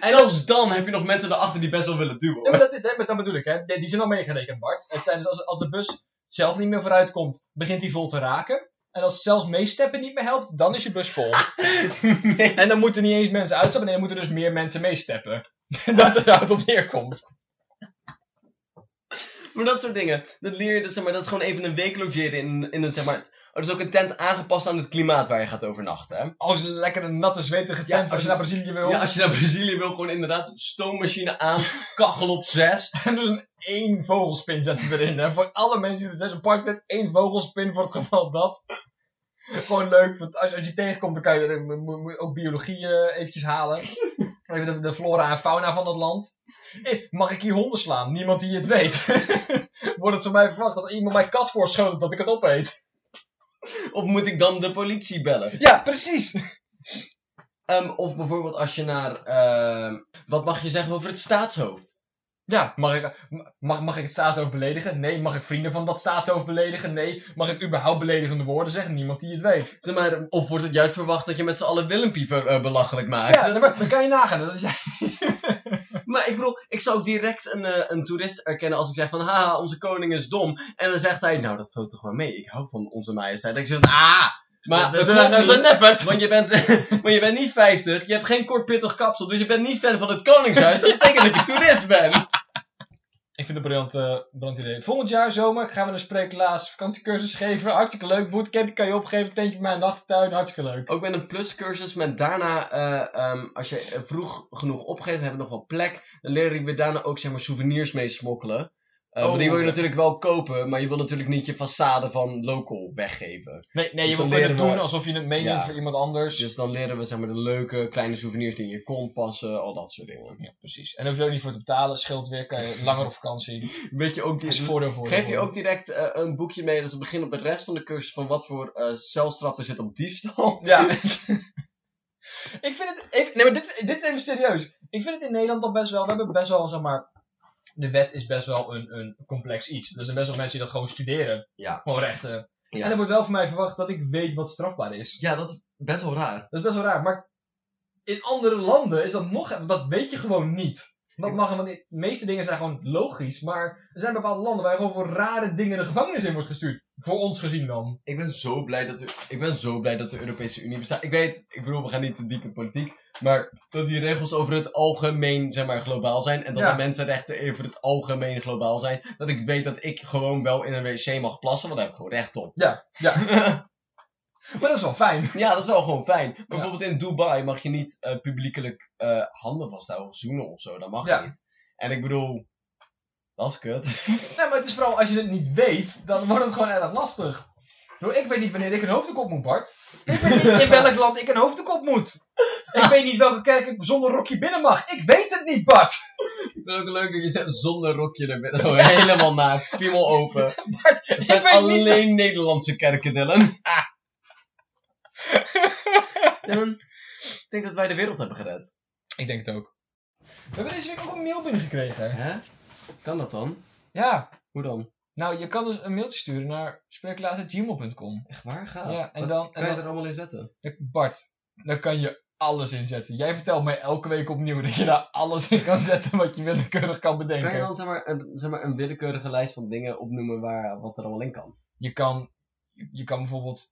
A: Zelfs dan heb je nog mensen erachter die best wel willen
B: nee,
A: duwen.
B: maar dat, nee, maar dat bedoel ik, hè. Die die zijn al meegerekend, Bart. Het zijn dus als, als de bus zelf niet meer vooruit komt, begint die vol te raken. En als zelfs meesteppen niet meer helpt, dan is je bus vol.
A: (laughs)
B: En dan moeten niet eens mensen uitstappen, nee, dan moeten dus meer mensen meesteppen. (laughs) dat is waar het op neerkomt.
A: Maar dat soort dingen, dat leer je dus, zeg maar, dat is gewoon even een week logeren in, in een, zeg maar... Er is ook een tent aangepast aan het klimaat waar je gaat overnachten, hè?
B: Als je lekker een natte, zwetige
A: Ja,
B: tent als
A: als
B: je
A: je-
B: naar Brazilië wil.
A: Ja, als je naar Brazilië wil, gewoon inderdaad stoommachine aan, kachel op 6.
B: En dus een één vogelspin zetten ze erin. Hè. Voor alle mensen die er zes apart vindt, één vogelspin voor het geval dat. Gewoon leuk, want als, als je tegenkomt, dan kan je dan moet- moet je ook biologie eh, eventjes halen. Even de, de flora en fauna van dat land. Hé, mag ik hier honden slaan? Niemand die het weet. (laughs) Wordt het van mij verwacht dat iemand mijn kat voorschoten dat ik het opeet?
A: Of moet ik dan de politie bellen?
B: Ja, precies.
A: Ehm, of bijvoorbeeld als je naar. ehm, wat mag je zeggen over het staatshoofd?
B: Ja, mag ik, mag, mag ik het staatshoofd beledigen? Nee. Mag ik vrienden van dat staatshoofd beledigen? Nee. Mag ik überhaupt beledigende woorden zeggen? Niemand die het weet.
A: Zeg maar, of wordt het juist verwacht dat je met z'n allen Willempie ver- eh, belachelijk maakt?
B: Ja, maar dan kan je nagaan. Dat is (laughs) ja.
A: Maar ik bedoel, ik zou ook direct een, eh, een toerist erkennen als ik zeg van, haha, onze koning is dom. En dan zegt hij, nou, dat valt toch wel mee, ik hou van onze majesteit. En ik zeg, ah, maar
B: dat is
A: dat klopt
B: een, dat is
A: niet.
B: een neppert.
A: Want je, bent, (laughs) want je bent niet 50, je hebt geen kort pittig kapsel, dus je bent niet fan van het Koningshuis. Dat betekent dat je toerist bent.
B: Ik vind het een briljant, eh, briljant idee. Volgend jaar zomer gaan we een spreeklaas vakantiecursus geven. Hartstikke leuk. Bootcamp kan je opgeven. Tentje bij mijn nachttuin. Hartstikke leuk.
A: (laughs) Ook met een pluscursus, met daarna, eh, ehm, als je eh, vroeg genoeg opgeeft, dan heb je nog wel plek. Dan leer ik weer daarna ook zeg maar, souvenirs mee smokkelen. Eh,
B: Oh.
A: want die wil je natuurlijk wel kopen, maar je wil natuurlijk niet je façade van local weggeven.
B: Nee, nee
A: Dus
B: je
A: dan
B: moet het
A: leren we-
B: doen alsof je het meeneemt
A: Ja.
B: voor iemand anders.
A: Dus dan leren we zeg maar, de leuke kleine souvenirs die in je kont passen, al dat soort dingen.
B: Ja, precies. En daar hoef je ook niet voor te betalen. Scheelt weer. Kan je langer op vakantie.
A: Weet je ook die,
B: Is voordeel voor
A: Geef je
B: voor.
A: ook direct eh, een boekje mee, dat is het begin op de rest van de cursus, van wat voor eh, celstraf er zit op diefstal?
B: Ja. (laughs) ik vind het. Ik, nee, maar dit, dit even serieus. Ik vind het in Nederland al best wel. We hebben best wel, zeg maar. De wet is best wel een, een complex iets. Dus Er zijn best wel mensen die dat gewoon studeren.
A: Ja.
B: Gewoon rechten.
A: Ja.
B: En er wordt wel van mij verwacht dat ik weet wat strafbaar is.
A: Ja, dat is best wel raar.
B: Dat is best wel raar. Maar in andere landen is dat nog. Dat weet je gewoon niet. Wat mag en wat niet. De meeste dingen zijn gewoon logisch, maar er zijn bepaalde landen waar je gewoon voor rare dingen de gevangenis in wordt gestuurd. Voor ons gezien dan.
A: Ik ben zo blij dat de, ik ben zo blij dat de Europese Unie bestaat. Ik weet, ik bedoel, we gaan niet te diep in politiek. Maar dat die regels over het algemeen, zeg maar, globaal zijn. En dat
B: Ja.
A: de mensenrechten over het algemeen globaal zijn. Dat ik weet dat ik gewoon wel in een wc mag plassen, want daar heb ik gewoon recht op.
B: Maar dat is wel fijn.
A: Ja, dat is wel gewoon fijn. Maar Bijvoorbeeld in Dubai mag je niet eh, publiekelijk eh, handen vasthouden of zoenen of zo. Dat mag
B: Ja.
A: niet. En ik bedoel, dat is (laughs) kut.
B: Nee, maar het is vooral als je het niet weet, dan wordt het gewoon erg lastig. Bro, ik weet niet wanneer ik een hoofddoek op moet, Bart. Ik weet niet in welk land ik een hoofddoek op moet. Ik weet niet welke kerk ik zonder rokje binnen mag. Ik weet het niet,
A: (laughs)
B: Bart.
A: Ik vind het ook leuk dat je zegt zonder rokje er bent. Gewoon Oh, helemaal naakt, piemel (laughs) open. Het zijn
B: ik weet niet-
A: alleen Nederlandse kerken, Dylan. Ah. (laughs) Dylan, ik denk dat wij de wereld hebben gered.
B: Ik denk het ook. We hebben deze week ook een mail binnengekregen.
A: Hè? Kan dat dan?
B: Ja.
A: Hoe dan?
B: Nou, je kan dus een mailtje sturen naar spreeklater.gmail.com.
A: Echt waar? Ga.
B: Ja, en dan...
A: Kan je
B: En
A: er
B: dan
A: allemaal in zetten?
B: Bart, daar kan je alles in zetten. Jij vertelt mij elke week opnieuw dat je daar alles in kan zetten wat je willekeurig kan bedenken.
A: Kan je dan zeg maar, een, zeg maar, een willekeurige lijst van dingen opnoemen waar, wat er allemaal in kan?
B: je kan, je kan bijvoorbeeld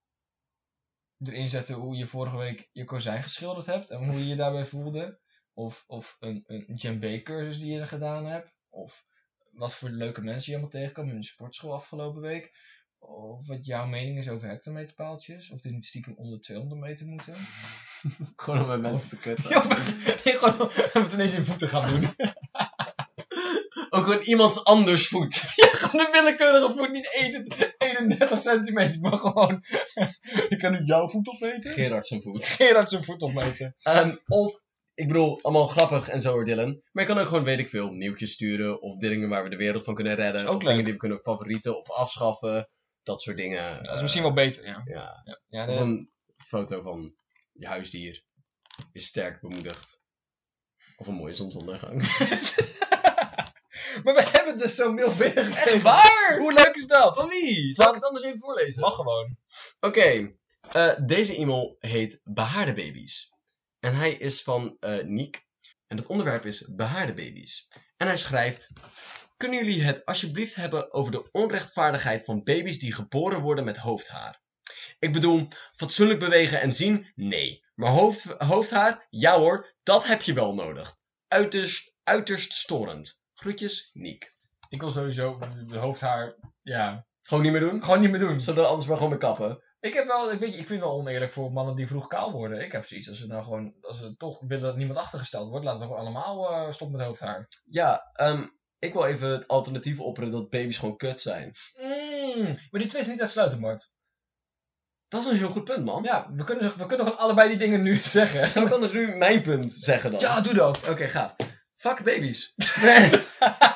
B: erin zetten hoe je vorige week je kozijn geschilderd hebt en hoe je je daarbij voelde. Of, of een, een djembe-cursus die je gedaan hebt. Of wat voor leuke mensen je allemaal tegenkwam in de sportschool afgelopen week. Of wat jouw mening is over hectometerpaaltjes. Of die niet stiekem onder 200 meter moeten.
A: Gewoon om met mensen te kutten.
B: (laughs) Ja, maar (laughs) gewoon het ineens in voeten gaan doen.
A: Ook gewoon iemands anders voet.
B: (laughs) Gewoon een willekeurige voet, niet 31 31 centimeter, maar gewoon... (laughs) ik kan nu jouw voet opmeten.
A: Gerard zijn voet.
B: Gerard zijn voet opmeten.
A: Ehm, of, ik bedoel, allemaal grappig en zo hoor, Dylan. Maar je kan ook gewoon, weet ik veel, nieuwtjes sturen. Of dingen waar we de wereld van kunnen redden.
B: Is
A: of
B: ook
A: dingen
B: leuk.
A: die we kunnen favorieten of afschaffen. Dat eh, soort dingen.
B: Dat is
A: Eh,
B: misschien wel beter, ja.
A: ja.
B: Ja,
A: Of
B: de-
A: een foto van je huisdier. Is sterk bemoedigd. Of een mooie zonsondergang.
B: Maar we hebben dus zo'n mail binnengekregen.
A: (laughs) waar?
B: Hoe leuk is dat?
A: Van wie? Zal ik het anders even voorlezen?
B: Mag gewoon.
A: Oké, eh, deze e-mail heet Behaarde Baby's. En hij is van eh Niek. En het onderwerp is Behaarde Baby's. En hij schrijft... Kunnen jullie het alsjeblieft hebben over de onrechtvaardigheid van baby's die geboren worden met hoofdhaar? Ik bedoel, fatsoenlijk bewegen en zien? Nee. Maar hoofd, hoofdhaar? Ja hoor, dat heb je wel nodig. Uiterst, uiterst storend. Groetjes, Niek.
B: Ik wil sowieso de hoofdhaar, ja,
A: Gewoon niet meer doen?
B: gewoon niet meer doen.
A: Zullen we anders maar gewoon weer kappen?
B: Ik heb wel, ik weet je, ik vind het wel oneerlijk voor mannen die vroeg kaal worden. Ik heb zoiets, als ze nou gewoon, als ze toch willen dat niemand achtergesteld wordt, laten we gewoon allemaal eh stoppen met hoofdhaar.
A: Ja, ehm, ik wil even het alternatief opperen dat baby's gewoon kut zijn.
B: Mm, maar die twee is niet uitsluitend, Bart.
A: Dat is een heel goed punt, man.
B: Ja, we kunnen, ze- we kunnen gewoon allebei die dingen nu (laughs) zeggen.
A: Zou ik anders nu mijn punt zeggen dan?
B: Ja, doe dat.
A: Oké, gaaf. Fuck baby's. Nee.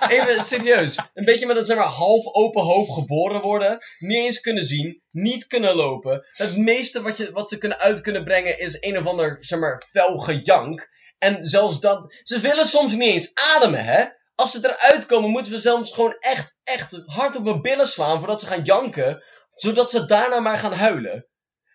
A: Even serieus. Een beetje met een zeg maar, half open hoofd geboren worden. Niet eens kunnen zien. Niet kunnen lopen. Het meeste wat, je, wat ze kunnen uit kunnen brengen is een of ander zeg maar, fel gejank. En zelfs dat... Ze willen soms niet eens ademen, hè? Als ze eruit komen moeten we zelfs gewoon echt, echt hard op hun billen slaan voordat ze gaan janken. Zodat ze daarna maar gaan huilen.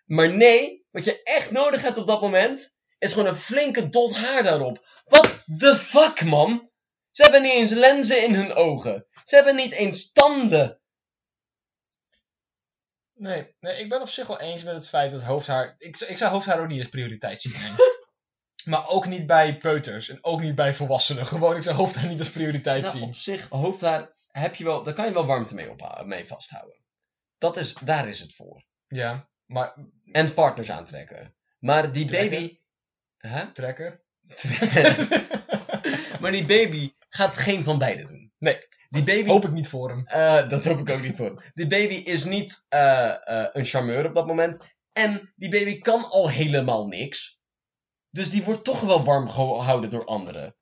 A: Maar nee, wat je echt nodig hebt op dat moment... Is gewoon een flinke dot haar daarop. What the fuck, man? Ze hebben niet eens lenzen in hun ogen. Ze hebben niet eens tanden.
B: Nee, nee, ik ben op zich wel eens met het feit dat hoofdhaar. Ik, z- ik zou hoofdhaar ook niet als prioriteit zien.
A: (laughs)
B: nee. maar ook niet bij peuters en ook niet bij volwassenen. Gewoon, ik zou hoofdhaar niet als prioriteit
A: Nou,
B: zien.
A: op zich, hoofdhaar heb je wel, daar kan je wel warmte mee, ophouden, mee vasthouden. Dat is, daar is het voor.
B: Ja, maar
A: En partners aantrekken. Maar die
B: Trekken?
A: baby. Hè? (laughs)
B: trekken?
A: maar die baby gaat geen van beide doen.
B: Nee.
A: Die baby.
B: Hoop ik niet voor hem.
A: Eh, dat hoop ik ook niet voor. hem. Die baby is niet eh, eh, een charmeur op dat moment. En die baby kan al helemaal niks. Dus die wordt toch wel warm gehouden door anderen.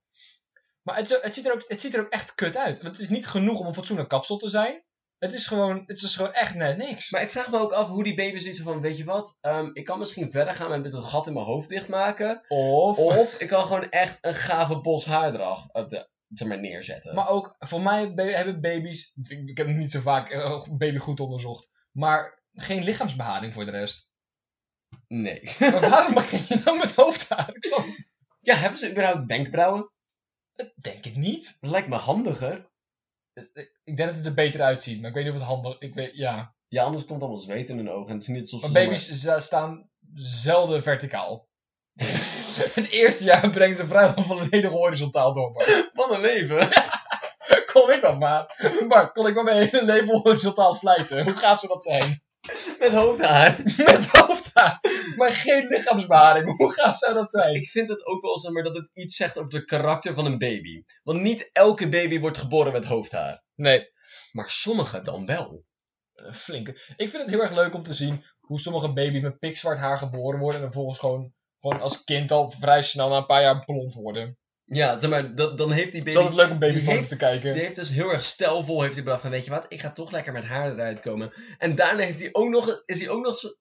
B: Maar het, zo- het, ziet er ook, het ziet er ook echt kut uit. Want het is niet genoeg om een fatsoenlijk kapsel te zijn. Het is gewoon, het is gewoon echt net niks.
A: Maar ik vraag me ook af hoe die baby zoiets van: weet je wat, ehm, ik kan misschien verder gaan met dat gat in mijn hoofd dichtmaken.
B: Of.
A: Of ik kan gewoon echt een gave bos haar eraf eh, de- zeg maar, neerzetten.
B: Maar ook, voor mij ba- hebben baby's. Ik, ik heb het niet zo vaak eh, baby goed onderzocht. Maar geen lichaamsbeharing voor de rest.
A: Nee.
B: Maar waarom begin je nou met hoofdhaar? Ik snap het.
A: Ja, hebben ze überhaupt wenkbrauwen?
B: Dat denk ik niet.
A: Lijkt me handiger.
B: Ik denk dat het er beter uitziet, maar ik weet niet of het handig... Ik weet, ja.
A: Ja, anders komt allemaal zweet in hun ogen. En het is niet alsof
B: Maar
A: ze
B: baby's za- staan zelden verticaal. (laughs) het eerste jaar brengen ze vrijwel volledig horizontaal door, Bart.
A: maar- Wat een leven!
B: (laughs) Kon ik dat maar. Bart, kon ik maar mijn hele leven horizontaal slijten. Hoe gaaf zou dat zijn?
A: (laughs)
B: (laughs)
A: Met hoofdhaar.
B: Met hoofdhaar, maar geen lichaamsbeharing. Hoe gaaf zou dat zijn?
A: Ik vind het ook wel zeg maar, dat het iets zegt over de karakter van een baby. Want niet elke baby wordt geboren met hoofdhaar.
B: Nee,
A: Maar sommige dan wel.
B: een flinke. Ik vind het heel erg leuk om te zien hoe sommige baby's met pikzwart haar geboren worden. En vervolgens gewoon, gewoon als kind al vrij snel na een paar jaar blond worden.
A: Ja, zeg maar, dat, dan heeft die
B: Het is
A: baby...
B: altijd leuk om
A: die
B: babyfoto's
A: heeft-
B: te kijken.
A: Die heeft dus heel erg stijlvol heeft hij bedacht van, weet je wat, ik ga toch lekker met haar eruit komen. En daarna heeft hij ook nog, is hij ook nog, zo-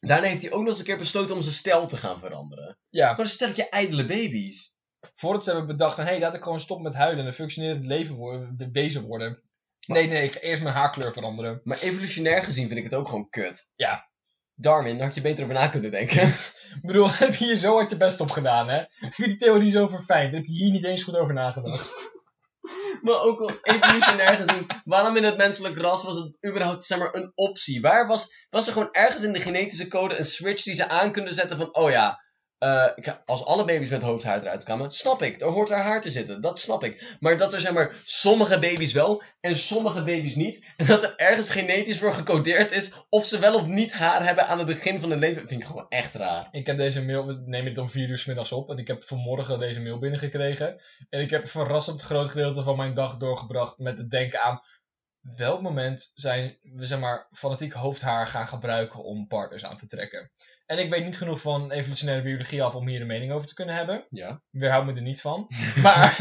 A: daarna heeft hij ook nog eens een keer besloten om zijn stijl te gaan veranderen.
B: Ja,
A: Gewoon een steltje ijdele baby's.
B: voordat ze hebben bedacht van, hé, hey, laat ik gewoon stop met huilen en een functionerend leven worden, wezen worden. Nee, nee, ik ga eerst mijn haarkleur veranderen.
A: Maar evolutionair gezien vind ik het ook gewoon kut.
B: Ja.
A: Darwin, daar had je beter over na kunnen denken.
B: Ik bedoel, (laughs) heb je hier zo hard je best op gedaan, hè? Heb je die theorie zo verfijnd? Heb je hier niet eens goed over nagedacht?
A: maar ook al evolutionair gezien, waarom in het menselijk ras was het überhaupt zeg maar, een optie? Waar was, was er gewoon ergens in de genetische code een switch die ze aan kunnen zetten van, oh ja, eh, ik- als alle baby's met hoofdhaar eruit kwamen, snap ik, er hoort haar haar te zitten, dat snap ik. Maar dat er zeg maar sommige baby's wel en sommige baby's niet, en dat er ergens genetisch voor gecodeerd is of ze wel of niet haar hebben aan het begin van hun leven, vind ik gewoon echt raar.
B: Ik heb deze mail, we nemen het om vier uur 's middags op. En ik heb vanmorgen deze mail binnengekregen. En ik heb verrassend groot gedeelte van mijn dag doorgebracht met het denken aan... Welk moment zijn we, zeg maar, fanatiek hoofdhaar gaan gebruiken om partners aan te trekken? En ik weet niet genoeg van evolutionaire biologie af om hier een mening over te kunnen hebben.
A: Ja,
B: Weerhoud me er niet van. Maar...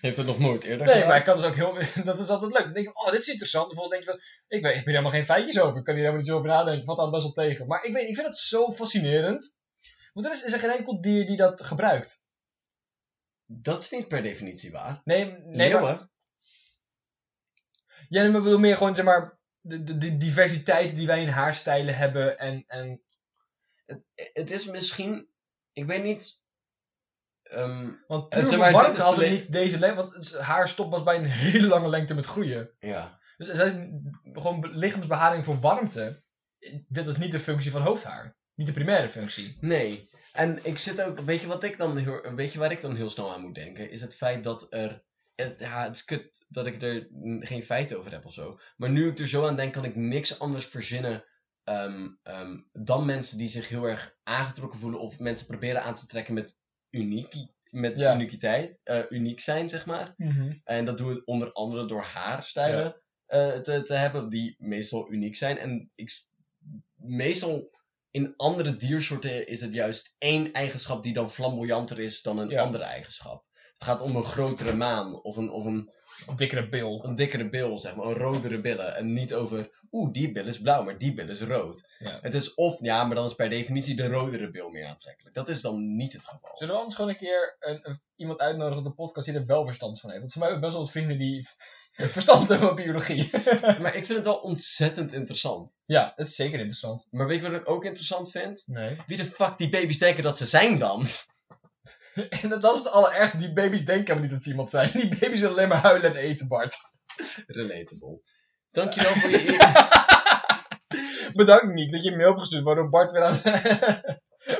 A: heeft het nog nooit eerder
B: Nee, maar ik kan dus ook heel. (laughs) Dat is altijd leuk. Dan denk je, oh, dit is interessant. En Vervolgens denk je, van, ik, weet, ik ben helemaal geen feitjes over. Ik kan hier helemaal niet zo over nadenken. Ik vat daar best wel tegen. Maar ik, weet, ik vind het zo fascinerend. Want er is, is er geen enkel dier die dat gebruikt.
A: Dat is niet per definitie waar.
B: Nee, nee. Maar,
A: Leeuwen?
B: ja, nee, maar ik bedoel meer gewoon, zeg maar. De, de, de diversiteit die wij in haarstijlen hebben. En, en
A: het is misschien, ik weet niet. ehm,
B: want
A: Eh,
B: puur
A: zeg maar,
B: voor
A: dit
B: warmte
A: is
B: hadden we
A: alleen-
B: niet deze lengte. Want het- haar stop was bij een hele lange lengte met groeien.
A: ja.
B: Dus het is gewoon be- lichaamsbeharing voor warmte. Dit is niet de functie van hoofdhaar. Niet de primaire functie.
A: Nee. En ik zit ook, weet je wat ik dan heel, weet je waar ik dan heel snel aan moet denken? Is het feit dat er, het, ja, het is kut dat ik er n- geen feiten over heb of zo. Maar nu ik er zo aan denk, kan ik niks anders verzinnen ehm, ehm, dan mensen die zich heel erg aangetrokken voelen of mensen proberen aan te trekken met unieki, met
B: Ja.
A: uniekiteit, eh, uniek zijn zeg maar. En dat doen we onder andere door haarstijlen eh, te, te hebben, die meestal uniek zijn. En ik, s- meestal in andere diersoorten is het juist één eigenschap die dan flamboyanter is dan een
B: Ja.
A: andere eigenschap. Het gaat om een grotere maan of, een, of een,
B: Een dikkere bil.
A: een dikkere bil, zeg maar, een rodere billen. En niet over, oeh, die bil is blauw, maar die bil is rood.
B: Ja.
A: Het is of, ja, maar dan is per definitie de rodere bil meer aantrekkelijk. Dat is dan niet het
B: (laughs)
A: geval.
B: Zullen we anders gewoon een keer een, een- iemand uitnodigen op de podcast die er wel verstand van heeft? Want voor mij hebben we best wel wat vrienden die (laughs) verstand hebben van biologie. (laughs)
A: Maar ik vind het wel ontzettend interessant.
B: ja, dat is zeker interessant.
A: Maar weet je wat ik ook interessant vind?
B: Nee.
A: Wie de fuck die baby's denken dat ze zijn dan?
B: (laughs) En dat, dat is het allerergste. Die baby's denken helemaal niet dat ze iemand zijn. Die baby's willen alleen maar huilen en eten, Bart.
A: Relatable. Dankjewel voor je eer.
B: Bedankt, Niek, dat je een mail hebt gestuurd waardoor Bart weer aan... (laughs)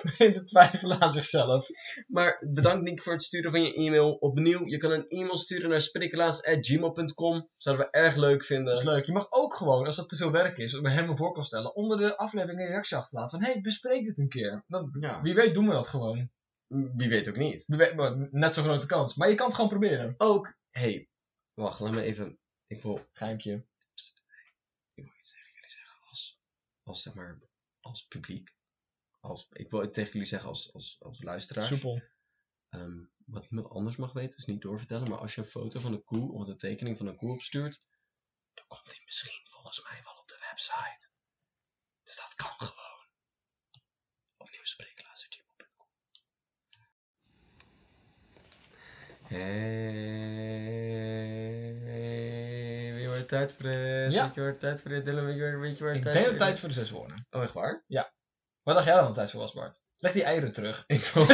B: begint te twijfelen aan zichzelf.
A: e-, (laughs) Maar bedankt Nick voor het sturen van je e-mail. Opnieuw, je kan een e-mail sturen naar sprikkelaars.gmail.com. Zouden we erg leuk
B: Dat is
A: vinden.
B: leuk. Je mag ook gewoon, als dat te veel werk is, wat ik me helemaal voor kan stellen, onder de aflevering een reactie achterlaten. Van, hé, hey, bespreek dit een keer. Dan,
A: Ja.
B: wie weet doen we dat gewoon.
A: Wie weet ook niet.
B: We- we- Net zo'n grote kans. Maar je kan het gewoon proberen.
A: Ook, hey, wacht, laat me even. Ik wil,
B: Geimpje.
A: ik wil iets tegen jullie zeggen als, als zeg maar, als publiek. Als, ik wil het tegen jullie zeggen als, als, als luisteraars.
B: Soepel.
A: Ehm, wat iemand anders mag weten, is niet doorvertellen. Maar als je een foto van een koe of een tekening van een koe opstuurt, dan komt die misschien volgens mij wel op de website. Dus dat kan gewoon. Opnieuw spreeklazer.gmail.com Hey, wie wordt tijd voor de...
B: Ja.
A: Ja. Je wordt tijd voor de... Dylan, wie wordt, weet je waar
B: Ik
A: tijd
B: denk
A: voor
B: dat tijd voor de zes woorden.
A: Oh, echt waar?
B: (laughs)
A: (laughs)
B: Wat dacht jij dan dat tijd voor was, Bart? Leg die eieren terug.
A: Ik wil...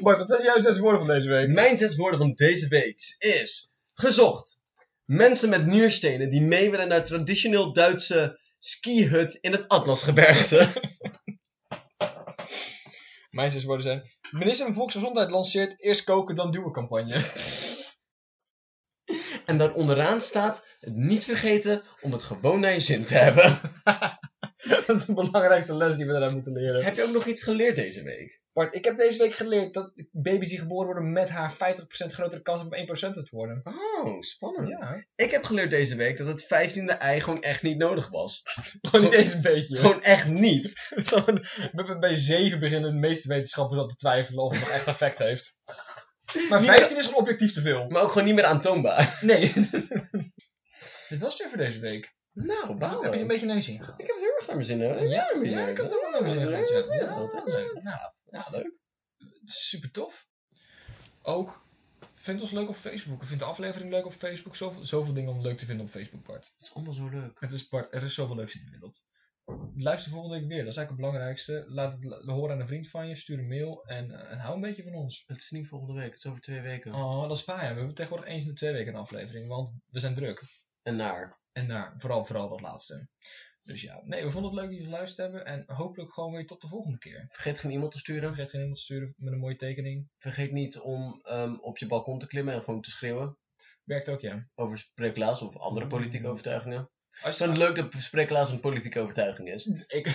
B: Boy, wat zijn jouw zes woorden van deze week?
A: Mijn zes woorden van deze week is... Gezocht. Mensen met nierstenen die mee willen naar traditioneel Duitse skihut in het Atlasgebergte.
B: (laughs) Mijn zes woorden zijn... Minister van Volksgezondheid lanceert eerst koken dan duwen (laughs) campagne.
A: En daar onderaan staat het niet vergeten om het gewoon naar je zin te
B: (laughs)
A: hebben.
B: dat is de belangrijkste les die we daaruit moeten leren.
A: Heb je ook nog iets geleerd deze week?
B: Bart, ik heb deze week geleerd dat baby's die geboren worden met haar 50% grotere kans hebben om 1% te worden.
A: Oh, spannend.
B: Ja.
A: Ik heb geleerd deze week dat het 15e ei gewoon echt niet nodig was.
B: Gewoon niet eens een beetje.
A: Gewoon echt
B: (laughs)
A: niet.
B: Gewoon, bij- bij 7 beginnen de meeste wetenschappers al te twijfelen of het nog echt effect heeft. Maar
A: Niet-
B: 15 is gewoon objectief te veel.
A: Maar ook gewoon niet meer aantoonbaar.
B: Nee. Dit was het weer voor deze week.
A: Nou, bouwen.
B: Heb je een beetje naar je zin
A: (laughs)
B: gehad?
A: Ik heb het heel erg naar mijn zin. hè?
B: ja, ik heb het ook wel naar mijn zin gehad.
A: Ja,
B: ja.
A: ja,
B: Ja,
A: ja.
B: leuk.
A: Nou, ja, leuk.
B: super tof. Ook, vind ons leuk op Facebook. Vind de aflevering leuk op Facebook. Zoveel, zoveel dingen om leuk te vinden op Facebook, Bart.
A: Het is allemaal zo leuk.
B: Het is Bart, er is zoveel leuks in de wereld. Luister volgende week weer, dat is eigenlijk het belangrijkste. Laat het la- horen aan een vriend van je, stuur een mail en, eh, en hou een beetje van ons.
A: Het is niet volgende week, het is over twee weken.
B: Oh, dat is waar, ja. we hebben tegenwoordig eens in de twee weken een aflevering, want we zijn druk.
A: En naar.
B: En nou, vooral, vooral dat laatste. Dus ja, nee, we vonden het leuk dat jullie geluisterd hebben en hopelijk gewoon weer tot de volgende keer.
A: Vergeet geen iemand te sturen.
B: Vergeet geen iemand te sturen met een mooie tekening.
A: Vergeet niet om ehm, op je balkon te klimmen en gewoon te schreeuwen
B: Werkt ook, ja.
A: over spreeklaas of andere politieke
B: Mm.
A: overtuigingen.
B: Als
A: Ik vind het leuk dat spreeklaas een politieke overtuiging is.
B: (laughs) Ik,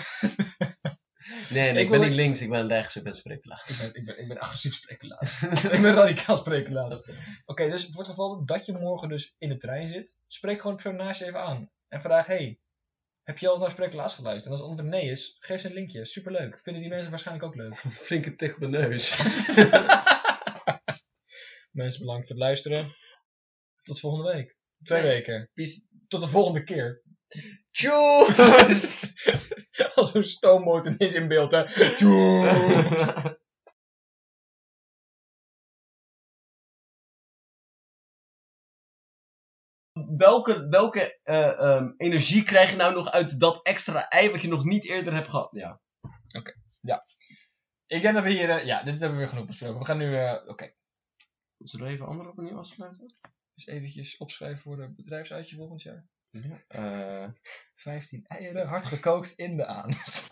A: Nee, nee,
B: Ik
A: ik, ben
B: wil-
A: niet links, ik ben rechts, ik ben spreeklaas.
B: ik, ben, ik, ben, ik ben agressief sprekelaar. (laughs) ik ben radicaal sprekelaar.
A: Dat- eh,
B: Oké, dus voor het geval dat je morgen dus in de trein zit, spreek gewoon de persoon naast je even aan. En vraag, hey, heb je al naar Sprekelaars geluisterd? En als het antwoord nee is, geef ze een linkje. Superleuk. Vinden die mensen waarschijnlijk ook leuk.
A: Flinke tik op mijn neus.
B: mensen, bedankt voor het luisteren. Tot volgende week. Twee
A: Nee.
B: weken. Tot de volgende keer.
A: (laughs) Tjoes!
B: (laughs) Als een stoomboot ineens in beeld, hè. Tjoe.
A: (laughs) welke welke eh, ehm, energie krijg je nou nog uit dat extra ei wat je nog niet eerder hebt gehad? Ja.
B: Ik denk dat we hier... eh, ja, dit hebben we weer genoeg besproken. We gaan nu... eh, Oké.
A: Zullen we even andere opnieuw afsluiten?
B: Dus eventjes opschrijven voor het bedrijfsuitje volgend jaar.
A: Eh
B: 15
A: Ah,
B: eieren, hard gekookt in de anus.